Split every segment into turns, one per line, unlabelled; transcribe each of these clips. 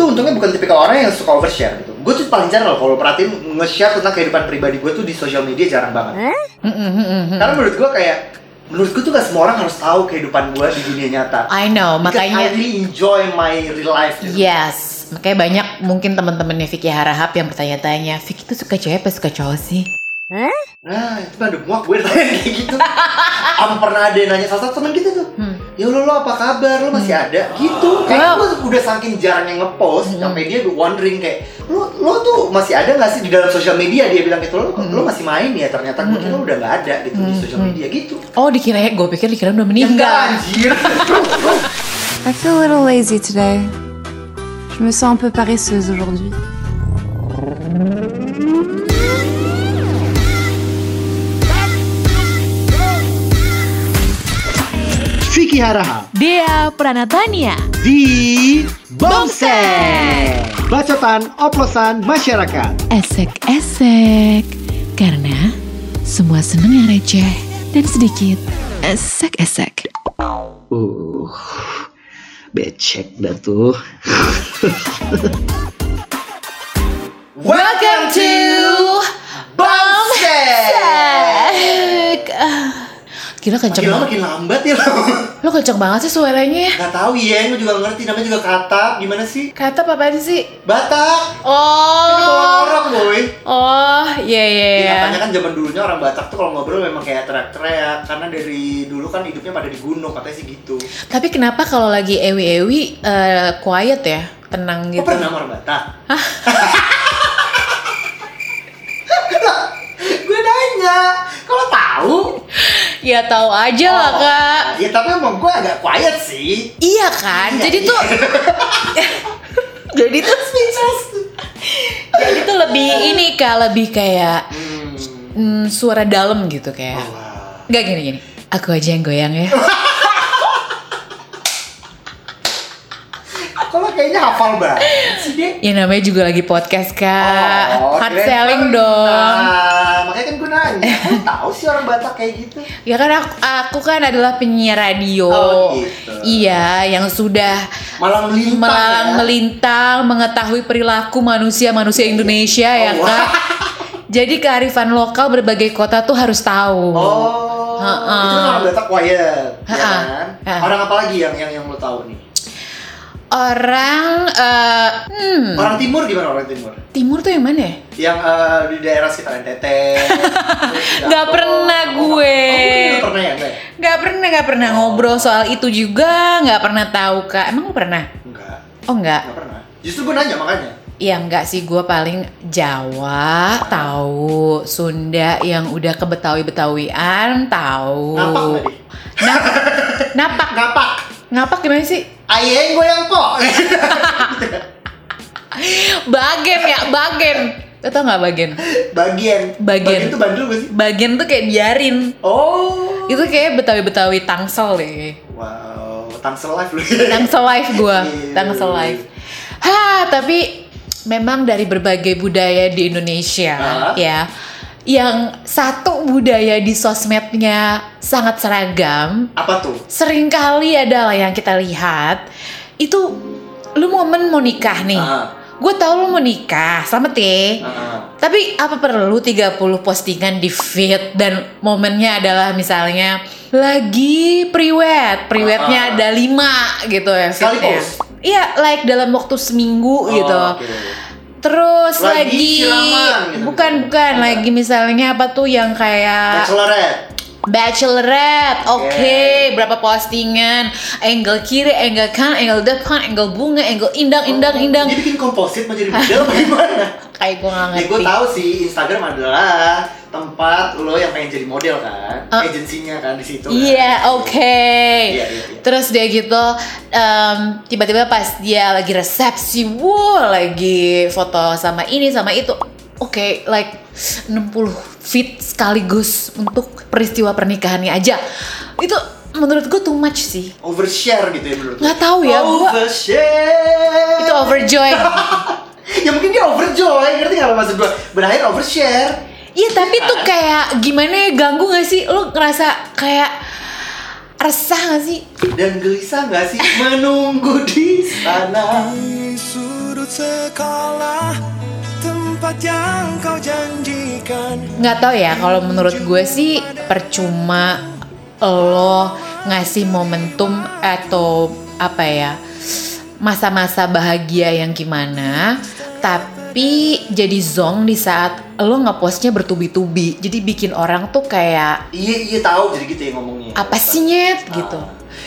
untungnya bukan tipikal orang yang suka overshare gitu. Gue tuh paling jarang loh kalau perhatiin nge-share tentang kehidupan pribadi gue tuh di sosial media jarang banget.
Hmm.
Karena menurut gue kayak menurut gue tuh gak semua orang harus tahu kehidupan gue di dunia nyata.
I know,
Because I
makanya
really enjoy my real life. Gitu.
yes. Makanya banyak mungkin teman-temannya Vicky Harahap yang bertanya-tanya, Vicky tuh suka cewek apa suka cowok sih?
Nah, itu kan ada muak gue tanya kayak gitu. Apa pernah ada yang nanya salah satu teman kita tuh?
Hmm.
Ya lo lo apa kabar? Lo masih ada? Gitu. Kayak gue udah saking jarangnya ngepost, sampai dia wondering kayak lo lo tuh masih ada nggak sih di dalam sosial media? Dia bilang gitu lo lo masih main ya? Ternyata gue kira lo udah nggak ada gitu di sosial media gitu.
Oh dikirain, gue pikir dikirain udah
Ya enggak
meninggal.
anjir.
I feel a little lazy today. Je me sens un peu paresseuse aujourd'hui.
Vicky Haraha
Dia Pranatania.
di
Bongseng.
Bacotan oplosan masyarakat.
esek-esek karena semua seneng yang receh dan sedikit esek-esek.
Uh, becek dah tuh.
Welcome to
Bongseng.
Esek. Ah, Gila
Makin
kenceng
lama makin
banget.
lambat ya lo.
Lo kenceng banget sih suaranya ya.
Gak tau ya, gue juga nggak ngerti namanya juga katak, gimana sih?
Kata apa apaan sih?
Batak. Ini
Oh.
orang boy.
Oh, iya iya
Ya,
iya.
katanya kan zaman dulunya orang Batak tuh kalau ngobrol memang kayak teriak-teriak karena dari dulu kan hidupnya pada di gunung katanya sih gitu.
Tapi kenapa kalau lagi ewi-ewi eh, quiet ya? Tenang
Kok
gitu.
pernah sama orang Batak? Lah, gue nanya, kalau tahu?
Ya tahu aja lah, Kak.
Ya tapi emang gue agak quiet sih.
Iya kan?
Iya,
Jadi
iya.
tuh Jadi tuh speechless. Jadi tuh lebih ini Kak, lebih kayak
Hmm.
mm, suara dalam gitu
Oh.
kayak.
Wah.
Gak gini gini. Aku aja yang goyang ya.
Kalau kayaknya hafal banget sih dia.
Ya namanya juga lagi podcast Kak.
Oh,
Ah, Hard
keren
selling
banget.
dong.
Nah, makanya kan gue nanya, "Kok lu tahu sih orang Batak kayak gitu?
Ya kan aku, aku kan adalah penyiar radio.
Oh, gitu.
Iya, yang sudah
Malah melintang.
melang
ya.
melintang mengetahui perilaku manusia-manusia Indonesia ya
Oh,
Kak. Jadi kearifan lokal berbagai kota tuh harus tahu.
Oh,
Ha-ha.
itu kan orang Batak quiet, ya
Ha-ha.
kan?
Ha.
Orang apa lagi yang yang yang lo tahu nih?
Orang eh, hmm,
Orang timur gimana orang timur?
timur tuh yang mana ya?
Yang eh, di daerah sekitar NTT. terus di
Nggak
Jawa.
pernah gue.
Oh, nggak pernah ya, Mbak?
Gak pernah, gak pernah ngobrol soal itu juga, gak pernah tahu kak. Emang lu pernah?
Enggak,
Oh enggak,
enggak pernah. Justru gue nanya makanya.
ya enggak sih gue paling Jawa tahu, Sunda yang udah ke Betawi Betawian tahu.
Ngapak tadi.
Nap- napak,
Ngapak.
ngapak gimana sih?
Ayeng gue yang kok.
Bagen ya, bagen. Lo tau gak bagen?
Bagian.
Bagian.
itu bandel gue sih.
Bagen tuh kayak biarin.
Oh.
Itu kayak Betawi-Betawi tangsel deh.
Wow, tangsel live lu.
Tangsel live gue,
Iya.
tangsel live. Hah, tapi memang dari berbagai budaya di Indonesia
Hah?
ya. Yang satu budaya di sosmednya sangat seragam,
Apa tuh?
seringkali adalah yang kita lihat itu lu momen mau nikah nih.
Aha.
Gue tau lu mau nikah, selamat ya.
ah, Aha.
Tapi apa perlu 30 postingan di feed dan momennya adalah misalnya lagi
Ah.
priwet, priwetnya ada lima gitu ya
Sekali
feednya.
post?
Iya, like dalam waktu
Oh,
seminggu gitu.
oke.
Terus
Lagi
lagi,
siraman gitu.
bukan bukan
Enggak.
lagi misalnya apa tuh yang kayak
Bachelorette.
Bachelorette, oke,
Oke.
berapa postingan, angle kiri, angle kanan, angle depan, angle bunga, angle indang, indang, indang,
Jadi bikin komposit mau jadi model bagaimana?
kayak gue gak
ya
ngerti.
gue tahu sih Instagram adalah tempat lo yang pengen jadi model kan,
Ah.
agensinya kan di situ. kan.
Iya, oke.
Iya, iya, iya.
Terus dia gitu, em, tiba-tiba pas dia lagi resepsi, wow, lagi foto sama ini sama itu. Oke, like 60 feet sekaligus untuk peristiwa pernikahannya aja. Itu menurut gue too much sih.
Overshare gitu ya menurut. lo?
Nggak tahu ya, gua-
Overshare.
Itu overjoyed.
ya mungkin dia overjoy, ngerti nggak lo maksud gue? Berakhir overshare.
Iya tapi tuh kayak gimana ya ganggu gak sih? Lo ngerasa kayak resah gak sih?
Dan gelisah nggak sih menunggu di sana?
Di sudut sekolah tempat yang kau janjikan
nggak tahu ya kalau menurut gue sih percuma lo ngasih momentum atau apa ya masa-masa bahagia yang gimana tapi jadi zong di saat lo ngepostnya bertubi-tubi jadi bikin orang tuh kayak
Iya iya tahu jadi gitu ya ngomongnya.
apa sih nyet
Ah.
gitu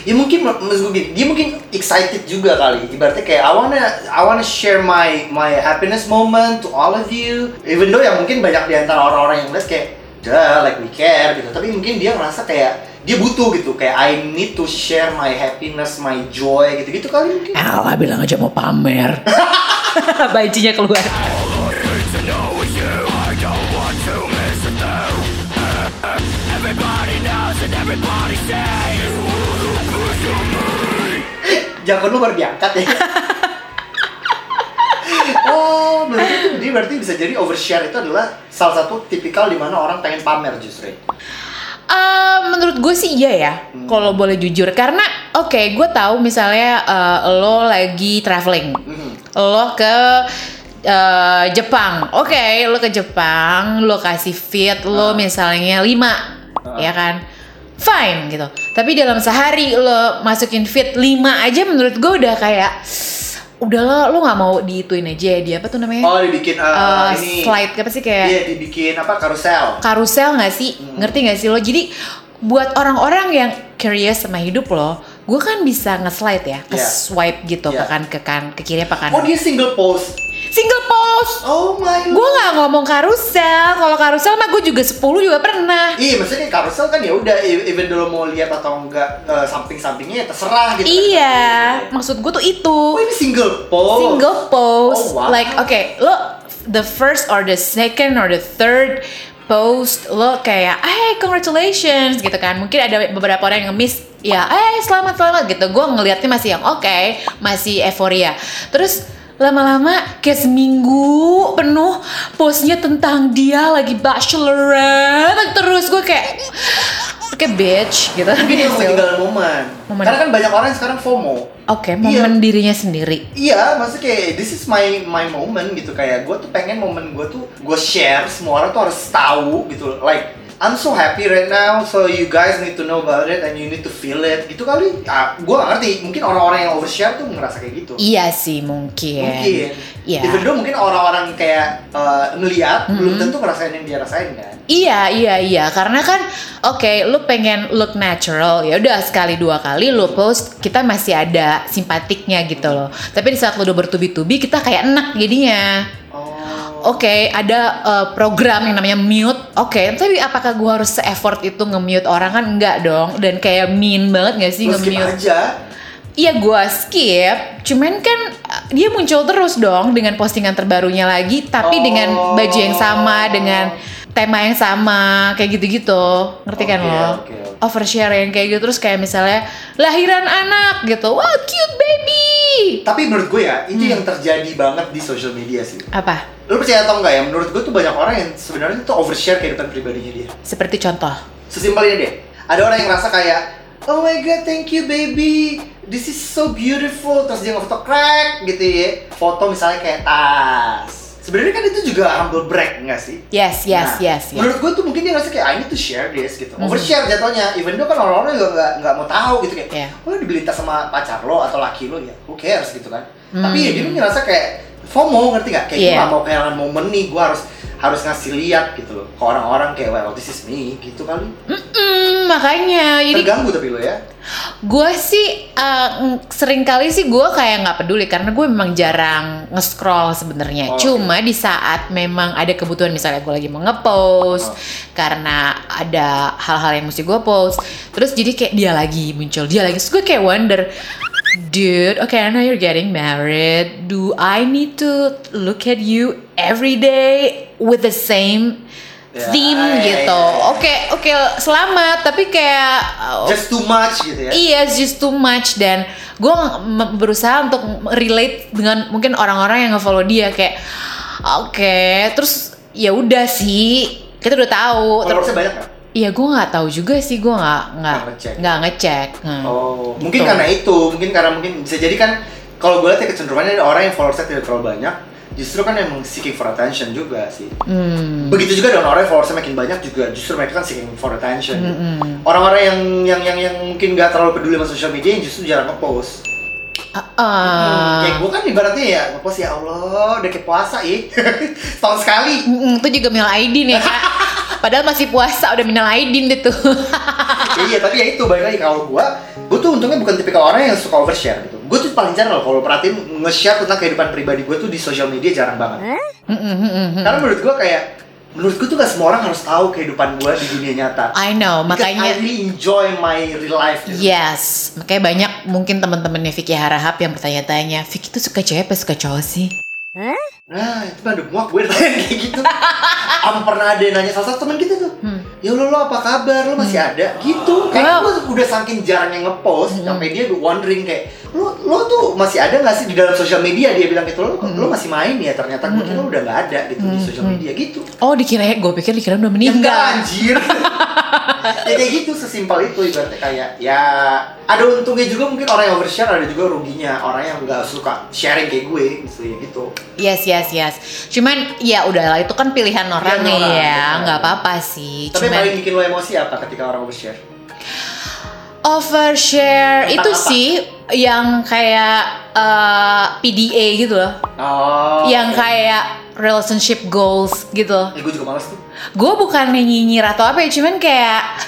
Ya mungkin maksud gue gini, dia mungkin excited juga kali. Ibaratnya kayak I wanna I wanna share my my happiness moment to all of you. Even though ya mungkin banyak di antara orang-orang yang ngeles kayak duh like we care gitu. Tapi mungkin dia ngerasa kayak dia butuh gitu kayak I need to share my happiness, my joy gitu-gitu kali mungkin.
Alah bilang aja mau pamer Bajinya keluar
Jago lu baru diangkat ya. oh, berarti itu dia berarti bisa jadi overshare itu adalah salah satu tipikal di mana orang pengen pamer justru.
Eh, menurut gue sih iya ya
Hmm.
kalau boleh jujur karena oke gue tahu misalnya eh, lo lagi traveling
Mhm.
lo ke eh, Jepang oke lo ke Jepang lo kasih
Ah.
fit lo misalnya 5 ya kan fine gitu tapi dalam sehari lo masukin fit 5 aja menurut gue udah kayak udahlah lo nggak mau diituin aja dia apa tuh namanya
Oh, dibikin eh,
Eh,
ini
slide apa sih kayak
Iya, dibikin apa karusel.
karusel nggak sih
Hmm.
ngerti nggak sih lo jadi buat orang-orang yang curious sama hidup lo gue kan bisa nge-slide ya ke
Iya.
swipe gitu
Iya.
ke kanan ke kanan ke kiri apa kanan
Oh, dia single post.
single post
Oh my
gue nggak ngomong karusel kalau karusel mah gue juga 10 juga pernah
Iya, maksudnya karusel kan ya udah e- even dulu mau lihat atau enggak eh, samping-sampingnya ya terserah gitu. kan.
iya maksud gue tuh itu
Oh, ini single post.
single post
Oh, wow.
like oke lo the first or the second or the third post lo kayak hey congratulations gitu kan mungkin ada beberapa orang yang nge-miss ya eh selamat selamat gitu gue ngelihatnya masih yang oke masih euforia terus lama-lama kayak seminggu penuh postnya tentang dia lagi bachelorette terus gue kayak kayak bitch gitu
Mungkin dia mau
oke
ketinggalan momen.
Momen.
Karena kan banyak orang yang sekarang FOMO.
momen dirinya sendiri
Iya, maksudnya kayak this is my my moment gitu kayak gue tuh pengen momen gue tuh gue share semua orang tuh harus tahu gitu like I'm so happy right now so you guys need to know about it and you need to feel it gitu kali ah, gue gak ngerti mungkin orang-orang yang overshare tuh ngerasa kayak gitu
iya sih mungkin
mungkin
Iya. Mm-hmm.
even though mungkin orang-orang kayak eh, ngeliat belum tentu ngerasain yang dia rasain kan
Iya, iya, iya. Karena kan, oke, lu pengen look natural, ya udah sekali dua kali lu post, kita masih ada simpatiknya gitu loh. Tapi di saat lu udah bertubi-tubi, kita kayak enak jadinya.
oh
Oke, ada eh, program yang namanya mute. Oke, tapi apakah gua harus se-effort itu nge-mute orang kan enggak dong? Dan kayak mean banget gak sih
Lu skip
nge-mute?
aja
Iya gua skip, cuman kan eh, dia muncul terus dong dengan postingan terbarunya lagi
Oh.
tapi dengan baju yang sama, dengan tema yang sama, kayak gitu-gitu. Ngerti
Oke,
kan lo?
oke, oke.
Overshare yang kayak gitu terus kayak misalnya lahiran anak gitu. Wah, cute baby.
tapi menurut gue ya itu
Hmm.
yang terjadi banget di social media sih
Apa?
lu percaya atau enggak ya menurut gue tuh banyak orang yang sebenarnya tuh overshare kehidupan pribadinya dia
Seperti contoh.
sesimpel ini deh ada orang yang ngerasa kayak oh my god thank you baby this is so beautiful terus dia ngefoto crack gitu ya foto misalnya kayak tas sebenarnya kan itu juga humble brag nggak sih
Yes, yes,
Nah,
yes, yes.
Menurut gue tuh mungkin dia ngerasa kayak I need to share this gitu. Overshare jatuhnya. Even though kan orang-orang juga nggak nggak mau tahu gitu kayak,
Iya.
lo dibeli tas sama pacar lo atau laki lo ya, who cares gitu kan.
Hmm.
Tapi ya dia ngerasa kayak FOMO ngerti nggak? Kayak
Iya.
gue gak mau kehilangan momen nih, gue harus harus ngasih lihat gitu loh ke orang-orang kayak well this is me gitu kali.
Mm, makanya jadi
Terganggu tapi lo ya.
Gue sih uh, ng- sering kali sih gue kayak nggak peduli karena gue memang jarang nge-scroll sebenarnya.
Oh,
Cuma di saat memang ada kebutuhan misalnya gue lagi mau nge-post
Oh.
karena ada hal-hal yang mesti gue post. Terus jadi kayak dia lagi muncul, dia lagi. Terus gue kayak wonder, dude, okay I know you're getting married. Do I need to look at you every day with the same
Ya,
theme
ya, ya,
gitu?
ya, ya.
Oke, oke, selamat. Tapi kayak uh,
Just too much gitu ya.
Iya, it's just too much dan gue berusaha untuk relate dengan mungkin orang-orang yang nge-follow dia kayak oke, terus ya udah sih kita udah tahu. Terus
Followersnya banyak nggak?
iya gue nggak tahu juga sih gue nggak nggak
Oh. Nggak ngecek.
nggak ngecek. Hmm.
Oh, mungkin
Gitu.
karena itu, mungkin karena mungkin bisa jadi kan kalau gue lihat ya kecenderungannya ada orang yang followersnya tidak terlalu banyak justru kan emang seeking for attention juga sih
Hmm.
begitu juga dengan orang yang followersnya makin banyak juga justru mereka kan seeking for attention
Mm-mm.
orang-orang yang yang yang yang mungkin nggak terlalu peduli sama sosial media yang justru jarang ngepost
Ah,
Hmm,
ah.
kayak gue kan ibaratnya ya ngepost ya Allah udah kayak puasa ih setahun sekali
Mm-mm, itu Hmm, juga minal aidin ya kak. Padahal masih puasa udah minal aidin deh tuh.
Ya, iya tapi ya itu balik lagi kalau gua gua tuh untungnya bukan tipikal orang yang suka overshare gitu gua tuh paling jarang loh kalau perhatiin nge-share tentang kehidupan pribadi gua tuh di sosial media jarang banget
Mm-mm, mm-mm.
karena menurut gua kayak menurut gua tuh gak semua orang harus tahu kehidupan gua di dunia nyata
I know,
Because I
makanya
really enjoy my real life gitu.
yes, makanya banyak mungkin teman-temannya Vicky Harahap yang bertanya-tanya, Vicky tuh suka cewek apa suka cowok sih?
Nah, itu kan udah muak gue ditanya kayak gitu. Apa pernah ada yang nanya salah satu teman kita tuh?
Hmm.
Ya lo lo apa kabar? Lo masih ada? Gitu. Kayak gue udah saking jarang yang ngepost, sampai dia wondering kayak lo lo tuh masih ada nggak sih di dalam sosial media dia bilang gitu lo lo masih main ya ternyata gue kira udah nggak ada gitu di sosial media gitu.
Oh dikira gue pikir dikira
Ya
udah
enggak
meninggal.
anjir. ya kayak gitu sesimpel itu ibaratnya kayak ya ada untungnya juga mungkin orang yang overshare ada juga ruginya orang yang nggak suka sharing kayak gue misalnya gitu.
Yes yes yes. Cuman ya udahlah itu kan pilihan orang
Pilihan orang,
ya,
betul.
nggak apa-apa sih.
Tapi
Cuman
paling bikin lo emosi apa ketika orang overshare?
overshare
Tentang
itu
apa?
sih yang kayak eh, PDA gitu loh,
Oh.
yang kayak relationship goals gitu. loh.
Eh, gue juga males tuh.
gue bukan nyinyir atau apa ya cuman kayak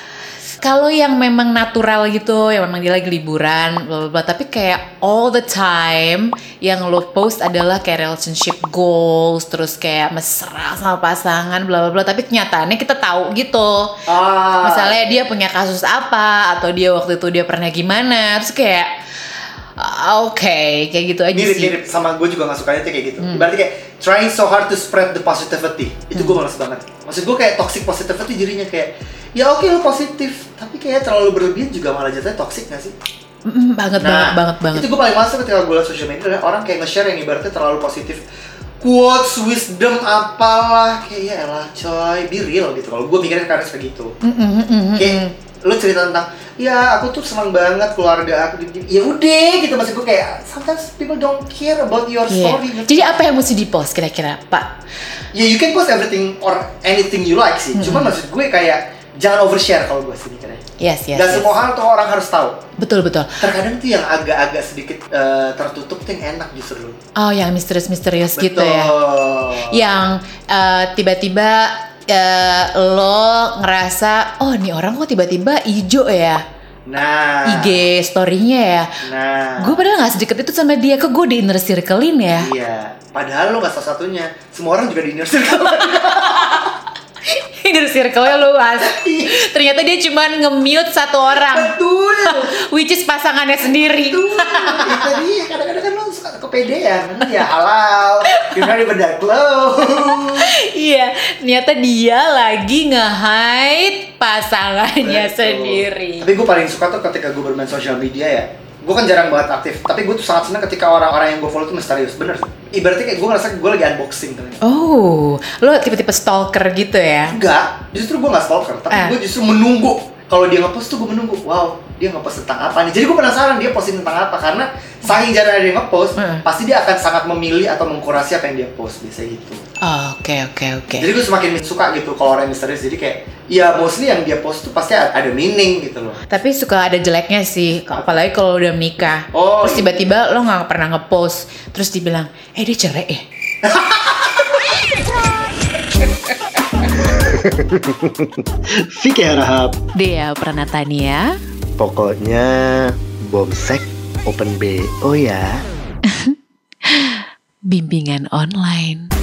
kalau yang memang natural gitu yang memang dia lagi liburan bla bla bla tapi kayak all the time yang lo post adalah kayak relationship goals terus kayak mesra sama pasangan bla bla bla tapi kenyataannya kita tahu gitu
Ah.
misalnya dia punya kasus apa atau dia waktu itu dia pernah gimana terus kayak ah, oke kayak Hmm. gitu aja sih
mirip-mirip sama gue juga nggak sukanya tuh kayak gitu. Berarti kayak trying so hard to spread the positivity. Itu gue
Hmm.
males banget. Maksud gue kayak toxic positivity jadinya kayak ya oke lo positif, tapi kayak terlalu berlebihan juga malah jatuhnya toxic gak sih?
Mm, banget banget banget banget
Nah. Itu gue paling masuk ketika gue liat social media ada orang kayak nge-share yang ibaratnya terlalu positif. Quotes, wisdom, apalah kayak ya elah coy, be real gitu. Kalau gue mikirnya karena kayak gitu.
Mm, mm, mm, mm, mm.
kayak lu cerita tentang ya aku tuh senang banget keluarga aku gini-gini." ya udah gitu maksud gue kayak sometimes people don't care about your
Iya.
story gitu.
Jadi apa yang mesti di-post kira-kira, Pak?
ya you can post everything or anything you like sih cuma maksud gue kayak jangan overshare kalau gue sih mikirnya
Yes, yes.
dan
yes.
semua hal tuh orang harus tahu
Betul, betul.
terkadang tuh yang agak-agak sedikit eh, tertutup tuh yang enak justru lu
Oh, yang misterius-misterius gitu
Betul.
ya. Yang eh, tiba-tiba eh, lo ngerasa, oh nih orang kok tiba-tiba ijo ya
nah
IG story-nya ya.
nah
Gue padahal gak sedekat itu sama dia, kok gue di inner circle-in ya?
iya padahal lu gak salah satunya semua orang juga di inner circle
inner circle-nya luas.
Iya.
Ternyata dia cuman nge-mute satu orang,
betul
which is pasangannya sendiri.
itu tadi kadang-kadang kan lo suka kepedean ya halal gimana di bedak lo
Iya, ternyata dia lagi nge-hide
Betul.
pasangannya Iya, sendiri.
tapi gue paling suka tuh ketika gue bermain sosial media ya gue kan jarang banget aktif tapi gue tuh sangat senang ketika orang-orang yang gue follow tuh misterius bener ibaratnya kayak gue ngerasa gue lagi unboxing ternyata
Oh, lo tipe-tipe stalker gitu ya?
enggak justru gue nggak stalker tapi
Eh.
gue justru menunggu kalau dia ngepost tuh gue menunggu wow dia ngepost tentang apa nih jadi gue penasaran dia posting tentang apa karena saking jarang ada yang ngepost
Hmm.
pasti dia akan sangat memilih atau mengkurasi apa yang dia post biasanya gitu
Oh, Oke, oke, oke.
Jadi gue semakin suka gitu kalau orang yang misterius. Jadi kayak ya mostly yang dia post tuh pasti a- ada meaning gitu loh.
Tapi suka ada jeleknya sih, apalagi kalau udah menikah.
Oh,
terus
iya.
tiba-tiba lo nggak pernah ngepost, terus dibilang, eh dia cerai ya?
Fikih Rahab
Dea Pranatania.
Pokoknya Bomsek Open B Oh ya
Bimbingan online.